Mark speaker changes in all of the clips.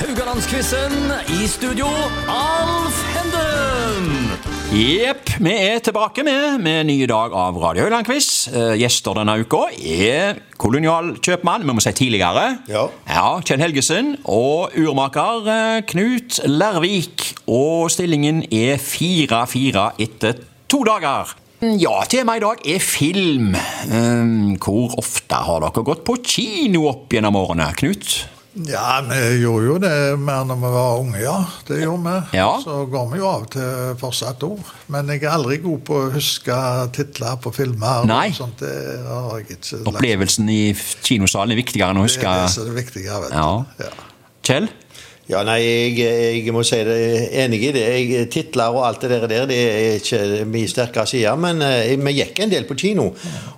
Speaker 1: Rogalandsquizen i studio, Alf Henden!
Speaker 2: Jepp, vi er tilbake med, med en ny dag av Radio Høyland-quiz. Eh, gjester denne uka er kolonialkjøpmann, vi må si tidligere,
Speaker 3: Ja.
Speaker 2: Kjell Helgesen, og urmaker eh, Knut Lervik. Og stillingen er 4-4 etter to dager. Ja, temaet i dag er film. Eh, hvor ofte har dere gått på kino opp gjennom årene, Knut?
Speaker 3: Ja, vi gjorde jo det mer når vi var unge, ja. Det gjorde vi.
Speaker 2: Ja.
Speaker 3: Så går vi jo av og til fortsatt òg. Men jeg er aldri god på å huske titler på filmer. og
Speaker 2: Nei.
Speaker 3: Sånt. Det har jeg ikke lagt-
Speaker 2: Opplevelsen i kinosalen er viktigere enn å
Speaker 3: Det er det
Speaker 2: huske
Speaker 3: som er det viktige, vet du.
Speaker 2: Ja. Kjell?
Speaker 4: Ja, nei, jeg, jeg må si det jeg er enig i det. Jeg, titler og alt det der, der det er ikke min sterkere side, men eh, vi gikk en del på kino.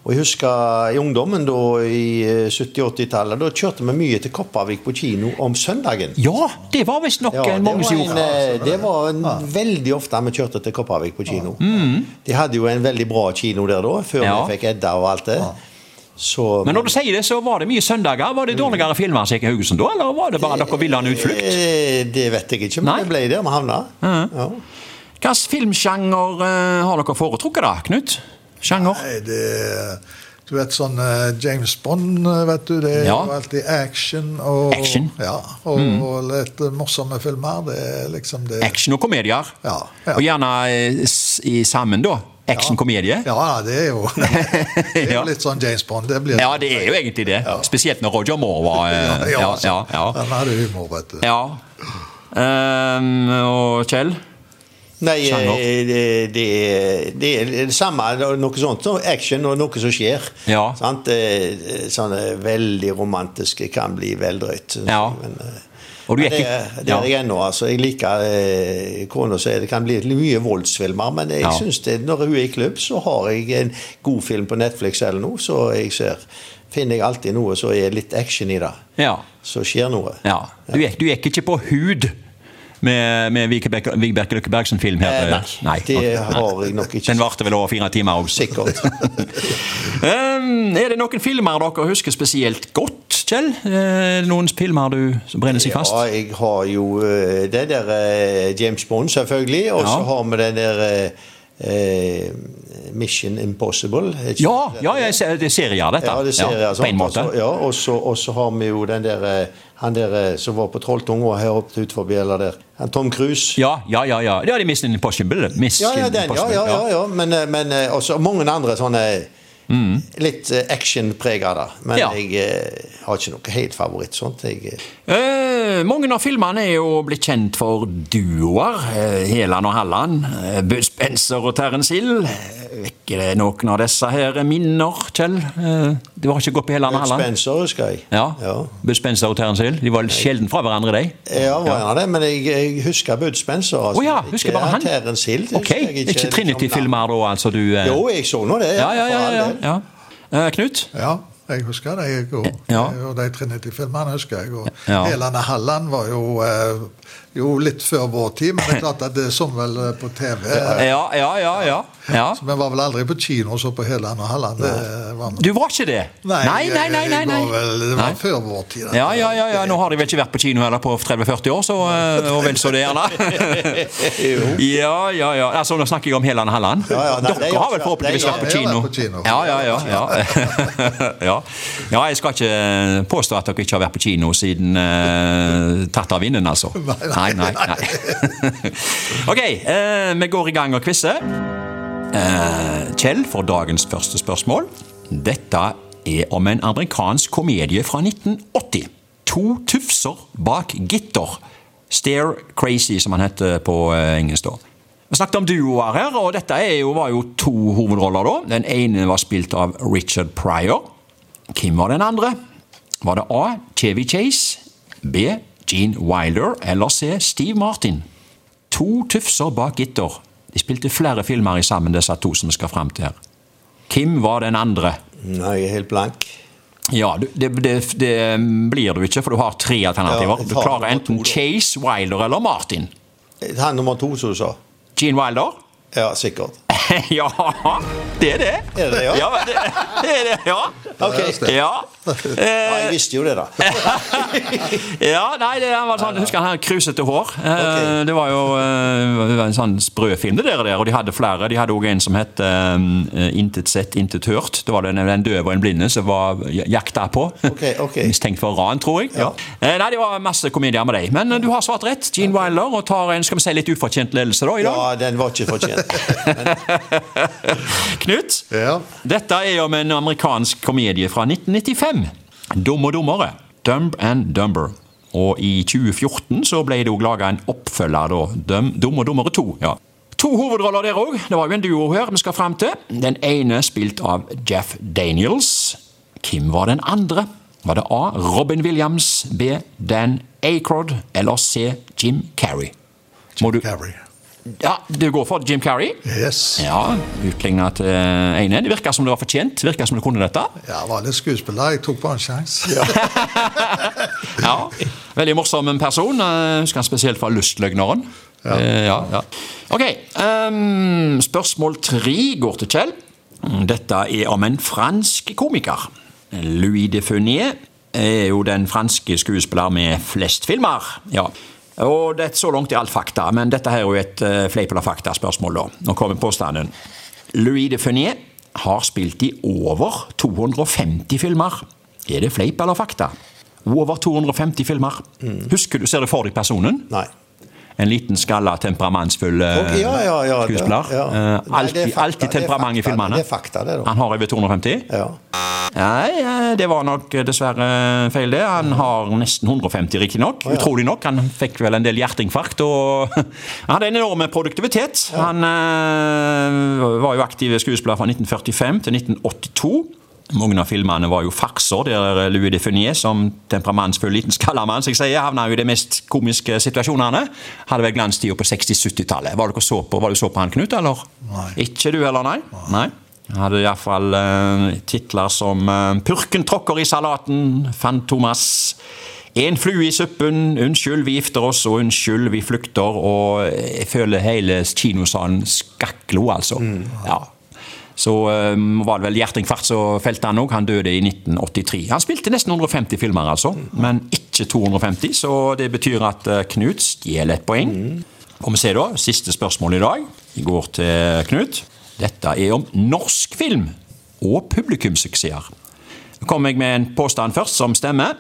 Speaker 4: Og jeg husker i ungdommen da i eh, 70-80-tallet, da kjørte vi mye til Kopervik på kino om søndagen.
Speaker 2: Ja, det var visstnok
Speaker 4: Ja,
Speaker 2: en
Speaker 4: det
Speaker 2: mange
Speaker 4: var,
Speaker 2: som
Speaker 4: en,
Speaker 2: gjorde.
Speaker 4: eh, det var en, veldig ofte vi kjørte til Kopervik på kino. De hadde jo en veldig bra kino der da, før
Speaker 2: Mm. Ja.
Speaker 4: vi fikk Edda og alt det. Så,
Speaker 2: Men når du sier det, så var det mye søndager. Var det dårligere filmer enn Sikker Haugesund da, eller var det bare dere ville ha en utflukt?
Speaker 4: Eh, Det vet jeg ikke, men
Speaker 2: Nei.
Speaker 4: det ble der vi havna. Ja.
Speaker 2: Hvilken filmsjanger eh, har dere foretrukket da, Knut? Sjanger?
Speaker 3: Nei, det Du vet sånn eh, James Bond, eh, vet du. Det er
Speaker 2: Ja.
Speaker 3: jo alltid action og
Speaker 2: Action. Mm.
Speaker 3: Ja, og, og litt morsomme filmer. Det er liksom det
Speaker 4: Eh,
Speaker 2: Action og komedier.
Speaker 3: Ja, ja.
Speaker 2: Og gjerne eh, s- i sammen, da. Action-komedie.
Speaker 3: Ja, det er jo Det er
Speaker 2: Ja.
Speaker 3: jo litt sånn James Bond. Det blir
Speaker 2: Ja, det er jo egentlig det. Spesielt når Roger Moore var eh, Ja,
Speaker 4: altså.
Speaker 3: så-
Speaker 2: ja. ja.
Speaker 3: Han altså. hadde humor, vet du.
Speaker 2: ja. Ehm, og Kjell?
Speaker 4: Nei,
Speaker 2: Sjanger?
Speaker 4: eh, det, det, er- det er det samme, noe sånt. så Action og noe som skjer.
Speaker 2: Ja.
Speaker 4: Sant? Eh, Sånne veldig romantiske kan bli vel drøyt.
Speaker 2: Ja.
Speaker 4: Men, eh,
Speaker 2: Og du
Speaker 4: men
Speaker 2: gikk
Speaker 4: det,
Speaker 2: i-
Speaker 4: er- det
Speaker 2: ja.
Speaker 4: er jeg ennå. Altså, jeg liker eh, kona sier det kan bli mye voldsfilmer, men jeg
Speaker 2: Ja.
Speaker 4: synes det, når hun er i klubb, så har jeg en god film på Netflix eller noe, så jeg ser, finner jeg alltid noe som er litt action i det.
Speaker 2: Ja.
Speaker 4: Så skjer noe.
Speaker 2: ja. Du, gikk, du gikk ikke på hud med, med Vibeke Løkkebergsen-film? her?
Speaker 4: Eh,
Speaker 2: eh,
Speaker 4: nei, det
Speaker 2: ok,
Speaker 4: har jeg nok ikke.
Speaker 2: Den varte vel over fire timer også.
Speaker 4: Sikkert.
Speaker 2: Ehm, er det noen filmer dere husker spesielt godt, Kjell? Eh, noen filmer du som brenner seg fast?
Speaker 4: Ja, jeg har jo eh, det der eh, James Bond, selvfølgelig. Og så
Speaker 2: Ja.
Speaker 4: har vi den der eh, eh, Mission Impossible. er ikke
Speaker 2: Ja,
Speaker 4: det?
Speaker 2: ja, jeg ser, det er serier, dette.
Speaker 4: Ja, det ser jeg.
Speaker 2: på en
Speaker 4: sant?
Speaker 2: måte.
Speaker 4: Og så- Ja, og så, og så har vi jo den der eh, han der eh, som var på Trolltunga her oppe ut forbi, eller der. Han Tom Cruise.
Speaker 2: Ja, ja, ja. ja. ja det er Mission Impossible. Mission
Speaker 4: Ja, ja, den, ja,
Speaker 2: Impossible,
Speaker 4: ja, ja, ja. Men, eh, men eh, også mange andre sånne litt eh, actionprega, da. Men
Speaker 2: Mm. Ja.
Speaker 4: jeg eh, har ikke noe helt favoritt sånt. Jeg, eh,
Speaker 2: Eh, mange av filmene er jo blitt kjent for duoer. Eh, Helan og Halland, eh, Bud Spencer og Terence Hill. Eh, Vekker det noen av disse her minner, Kjell? Eh, det var ikke godt på Helan og
Speaker 4: Bud
Speaker 2: Halland?
Speaker 4: Spencer, husker jeg.
Speaker 2: Ja.
Speaker 4: ja.
Speaker 2: Bud Spencer og Terence Hill. De var sjelden fra hverandre, de.
Speaker 4: Ja, var han det, men jeg, jeg husker Bud Spencer. altså.
Speaker 2: Å ja, husker
Speaker 4: Ikke
Speaker 2: bare han.
Speaker 4: Terence Hill. det
Speaker 2: Ok,
Speaker 4: husker jeg
Speaker 2: Ikke
Speaker 4: liksom,
Speaker 2: Trinity-filmer da, altså du eh.
Speaker 4: navn. Jo, jeg så nå det.
Speaker 2: Ja, ja, ja.
Speaker 4: for all
Speaker 2: ja,
Speaker 4: del.
Speaker 2: ja. Eh, Knut?
Speaker 3: Ja, jeg husker det. Jeg, og,
Speaker 2: Ja.
Speaker 3: og de Trinity-filmene husker jeg. Og
Speaker 2: Ja.
Speaker 3: Helene Halland var jo, eh, jo litt før vår tid, men det er klart at det som vel eh, på TV. eh,
Speaker 2: Ja, ja, ja. ja, ja.
Speaker 3: Så vi var vel aldri på kino og så på Helland og Halland. Det var vi.
Speaker 2: Du var ikke det? nei, nei. nei, nei,
Speaker 3: Det var,
Speaker 2: nei.
Speaker 3: vel, det var
Speaker 2: Nei.
Speaker 3: før vår tid. dette.
Speaker 2: Ja, ja, ja, ja, nå har de vel ikke vært på kino heller på 30-40 år, så eh, og vel så det, gjerne. Ja, ja, ja. Altså, nå snakker jeg om Helan Halland.
Speaker 4: Ja, ja, nei, det
Speaker 2: Dere
Speaker 4: er
Speaker 2: har vel
Speaker 4: også-
Speaker 2: forhåpentligvis
Speaker 4: det er-
Speaker 2: vært på
Speaker 3: det er
Speaker 2: kino?
Speaker 3: vært på kino.
Speaker 2: Ja, ja, ja. Ja. ja. ja, jeg skal ikke eh, påstå at dere ikke har vært på kino siden eh, tatt av vinden, altså. Nei,
Speaker 3: nei,
Speaker 2: nei, nei. Ok, eh, vi går i gang og quizzer. Eh, Kjell får dagens første spørsmål. Dette er om en amerikansk komedie fra 1980. To tufser bak gitter. Stare Crazy, som han heter på eh, engelsk. da. Vi snakket om duoer her, og dette er jo, var jo to hovedroller. da. Den ene var spilt av Richard Pryor. Hvem var den andre? Var det A. Chevy Chase, B. Gene Wilder eller C. Steve Martin? To tufser bak gitter. De spilte flere filmer i sammen, disse to som vi skal fram til her. Kim var den andre.
Speaker 4: Nei, jeg er helt blank.
Speaker 2: Ja, du- det, det, det blir du ikke, for du har tre alternativer.
Speaker 4: Ja, jeg
Speaker 2: Du
Speaker 4: tar
Speaker 2: klarer
Speaker 4: nummer
Speaker 2: enten
Speaker 4: to, da.
Speaker 2: Chase, Wilder eller Martin.
Speaker 4: Han nummer to som du sa.
Speaker 2: Gene Wilder?
Speaker 4: Ja, sikkert.
Speaker 2: ja, det er det.
Speaker 4: Er det det, ja?
Speaker 2: Ja, men det, det er det, ja.
Speaker 4: Ok.
Speaker 2: Ja.
Speaker 4: Ja,
Speaker 2: Eh,
Speaker 4: jeg visste jo det, da.
Speaker 2: ja, nei, det han var sånn, husker han her krusete hår. Eh,
Speaker 4: Ok.
Speaker 2: Det var jo eh, det var en sånn sprø film, det der, og der, og de hadde flere. De hadde òg en som het eh, Intet sett, intet hørt. Det var den, den døve og en blinde som var jakta på.
Speaker 4: Ok, ok.
Speaker 2: Mistenkt for ran, tror jeg.
Speaker 4: Ja.
Speaker 2: Eh, nei, det var masse komedier med deg. Men eh, du har svart rett. Gene Wilder, og tar en skal vi si, litt ufortjent ledelse da i dag.
Speaker 4: Ja, den var ikke fortjent.
Speaker 2: Knut?
Speaker 3: Ja.
Speaker 2: Dette er om en amerikansk komedie fra 1995. Dum og dummere. Dumb and Dumber. Og i 2014 så ble det òg laga en oppfølger, da. Dum, Dum og dummere 2. Ja. To hovedroller der òg. Det var jo en duo her vi skal fram til. Den ene spilt av Jeff Daniels. Hvem var den andre? Var det A. Robin Williams, B. Dan Acrod eller C. Jim Carrey? Må du,
Speaker 3: Carrie.
Speaker 2: ja, du går for Jim Carrey?
Speaker 3: Yes. Ja.
Speaker 2: Ja, utligna til ene. Det virka som det var fortjent. Virka som du kunne dette.
Speaker 3: Jeg var litt skuespiller. Jeg tok bare en sjanse. Ja.
Speaker 2: Ja, Veldig morsom person. Eh, Husker han spesielt fra Lystløgneren. Ja. Ja, ja. Ok, ehm, spørsmål tre går til Kjell. Mm, Dette er om en fransk komiker. Louis de Funès er jo den franske skuespiller med flest filmer. Ja. Og det, Så langt er alt fakta, men dette her er jo et eh, fleip eller fakta-spørsmål. da. Nå kommer påstanden. Louis de Funès har spilt i over 250 filmer. Er det fleip eller fakta? Over 250 filmer. Husker du, Ser du for deg personen?
Speaker 4: Nei.
Speaker 2: En liten, skalla, temperamentsfull eh,
Speaker 4: Ok, ja, ja, ja, det-
Speaker 2: skuespiller.
Speaker 4: ja.
Speaker 2: Eh,
Speaker 4: Nei, det er
Speaker 2: alltid,
Speaker 4: fakta,
Speaker 2: alltid
Speaker 4: det er
Speaker 2: temperament i
Speaker 4: fakta,
Speaker 2: filmene.
Speaker 4: det er fakta, det, da.
Speaker 2: Han har over 250?
Speaker 4: Ja.
Speaker 2: Nei, eh, det var nok eh, dessverre feil det. Han har nesten 150, riktignok. Utrolig nok. Han fikk vel en del hjerteinfarkt. Og han hadde en enorm produktivitet. Han eh, var jo aktiv skuespiller fra 1945 til 1982. Mange av filmene var jo farser, der eh, Louis de Funès som temperamentsfull liten skallamann som jeg sier, havna jo i de mest komiske situasjonene. Hadde vel glanstida på 60-70-tallet. Var dere så på, var du så på han, Knut, eller?
Speaker 3: Nei.
Speaker 2: Ikke du heller, nei? Nei. Jeg hadde iallfall uh, titler som eh, 'Purken tråkker i salaten', 'Fantomas', 'En flue i suppen', 'Unnskyld, vi gifter oss', og 'Unnskyld, vi flykter'. Og jeg føler hele kinosalen skaklo, altså. Ja. Så eh, var det vel hjerteinfarkt som felte han òg. Han døde i 1983. Han spilte nesten 150 filmer, altså, men ikke 250, så det betyr at eh, Knut stjeler et poeng. Får vi se da, Siste spørsmål i dag Vi går til Knut. Dette er om norsk film og publikumsuksesser. Nå kommer jeg med en påstand først som stemmer.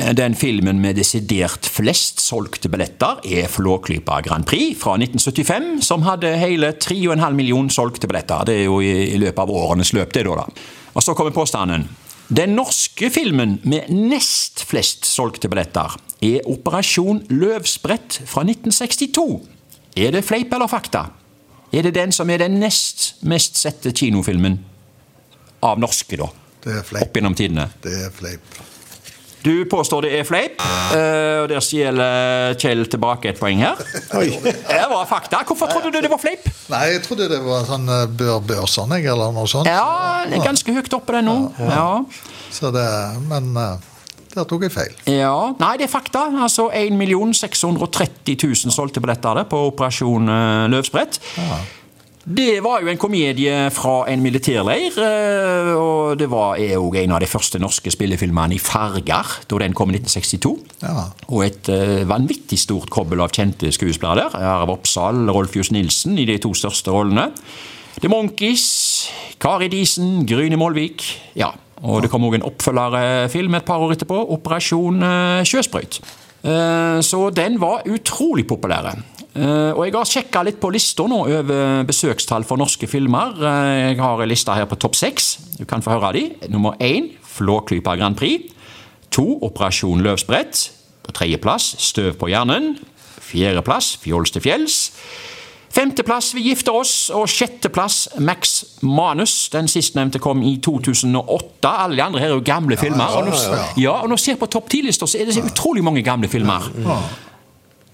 Speaker 2: Eh, Den filmen med desidert flest solgte billetter er Flåklypa Grand Prix fra 1975, som hadde hele 3,5 millioner solgte billetter. Det er jo i i løpet av årenes løp, det da. da. Og så kommer påstanden. Den norske filmen med nest flest solgte billetter er Operasjon Løvsprett fra 1962. Er det fleip eller fakta? Er det den som er den nest mest sette kinofilmen av norske, da?
Speaker 3: Det er
Speaker 2: opp
Speaker 3: fleip.
Speaker 2: gjennom tidene.
Speaker 3: Det er fleip.
Speaker 2: Du påstår det er fleip, eh, og der stjeler Kjell tilbake et poeng her.
Speaker 4: Oi.
Speaker 2: Det var fakta. Hvorfor trodde du det var fleip?
Speaker 3: Nei, jeg trodde det var sånn eh, Bør Børson, jeg, eller noe sånt.
Speaker 2: Ja, det er ganske høyt oppe det nå. Ja.
Speaker 3: Så det, men eh, der tok jeg feil.
Speaker 2: ja. Nei, det er fakta. Altså 1 630 000 solgte billetter av det på Operasjon eh, Løvsprett. Det var jo en komedie fra en militærleir, eh, og det var er jo en av de første norske spillefilmene i farger, da den kom i 1962.
Speaker 3: Ja.
Speaker 2: Og et eh, vanvittig stort kobbel av kjente skuespillere der. Arve Oppsal, Rolf Johs Nilsen i de to største rollene. The Monkees, Kari Disen, Gryne Molvik. Ja, og det kom òg en oppfølgerfilm et par år etterpå, 'Operasjon eh, Sjøsprøyt'. Eh, Så den var utrolig populær. Eh, Og jeg har sjekka litt på lista nå over besøkstall for norske filmer. Eh, Jeg har ei liste her på topp seks. Du kan få høre de. Nummer én Flåklypa Grand Prix. To Operasjon Løvsbrett. På tredjeplass Støv på hjernen. Fjerdeplass Fjols til fjells. Femteplass Vi gifter oss, og sjetteplass Max Manus. Den sistnevnte kom i 2008. Alle de andre her er jo gamle filmer. Og
Speaker 3: ja,
Speaker 2: når, ja, og når jeg ser på topp ti-lista, så er det så utrolig mange gamle filmer.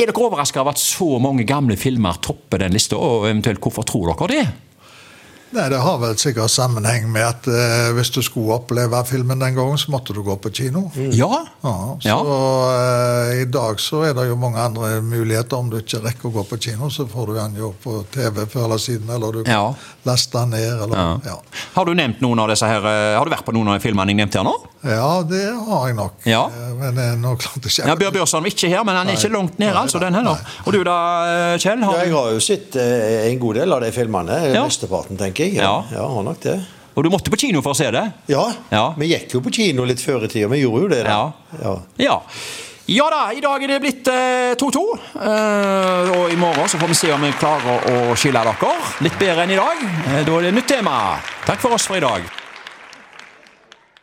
Speaker 2: Er dere overraska over at så mange gamle filmer topper den lista, og eventuelt hvorfor tror dere det?
Speaker 3: Nei, Det har vel sikkert sammenheng med at eh, hvis du skulle oppleve filmen den gangen, så måtte du gå på kino.
Speaker 2: Ja.
Speaker 3: Ja, så
Speaker 2: Mm. Ja.
Speaker 3: eh, i dag så er det jo mange andre muligheter. Om du ikke rekker å gå på kino, så får du den jo på TV før eller siden, eller du kan
Speaker 2: Ja.
Speaker 3: laste den ned. Eller,
Speaker 2: Ja.
Speaker 3: ja.
Speaker 2: Har du nevnt noen av disse her, eh, har du vært på noen av filmene jeg nevnte her nå?
Speaker 3: Ja, det har jeg nok.
Speaker 2: Ja.
Speaker 3: Eh, Men det er nok klart ikke
Speaker 2: Ja, Bjørn Bjørsson var ikke her, men han er ikke langt ned, altså, den heller. Og du da, eh, Kjell?
Speaker 4: Ja,
Speaker 2: Har
Speaker 4: jeg
Speaker 2: du,
Speaker 4: har jo sett eh, en god del av de filmene.
Speaker 2: Ja.
Speaker 4: Mesteparten, tenker jeg.
Speaker 2: Ja.
Speaker 4: ja, har nok det.
Speaker 2: og du måtte på kino for å se det?
Speaker 4: Ja,
Speaker 2: Ja.
Speaker 4: vi gikk jo på kino litt før i tida. Vi gjorde jo det. da.
Speaker 2: Ja.
Speaker 4: Ja.
Speaker 2: Ja. Ja da, i dag er det blitt eh, 2-2. Eh, og i morgen så får vi se om vi klarer å skille dere. Litt bedre enn i dag. Eh, da er det nytt tema. Takk for oss for i dag.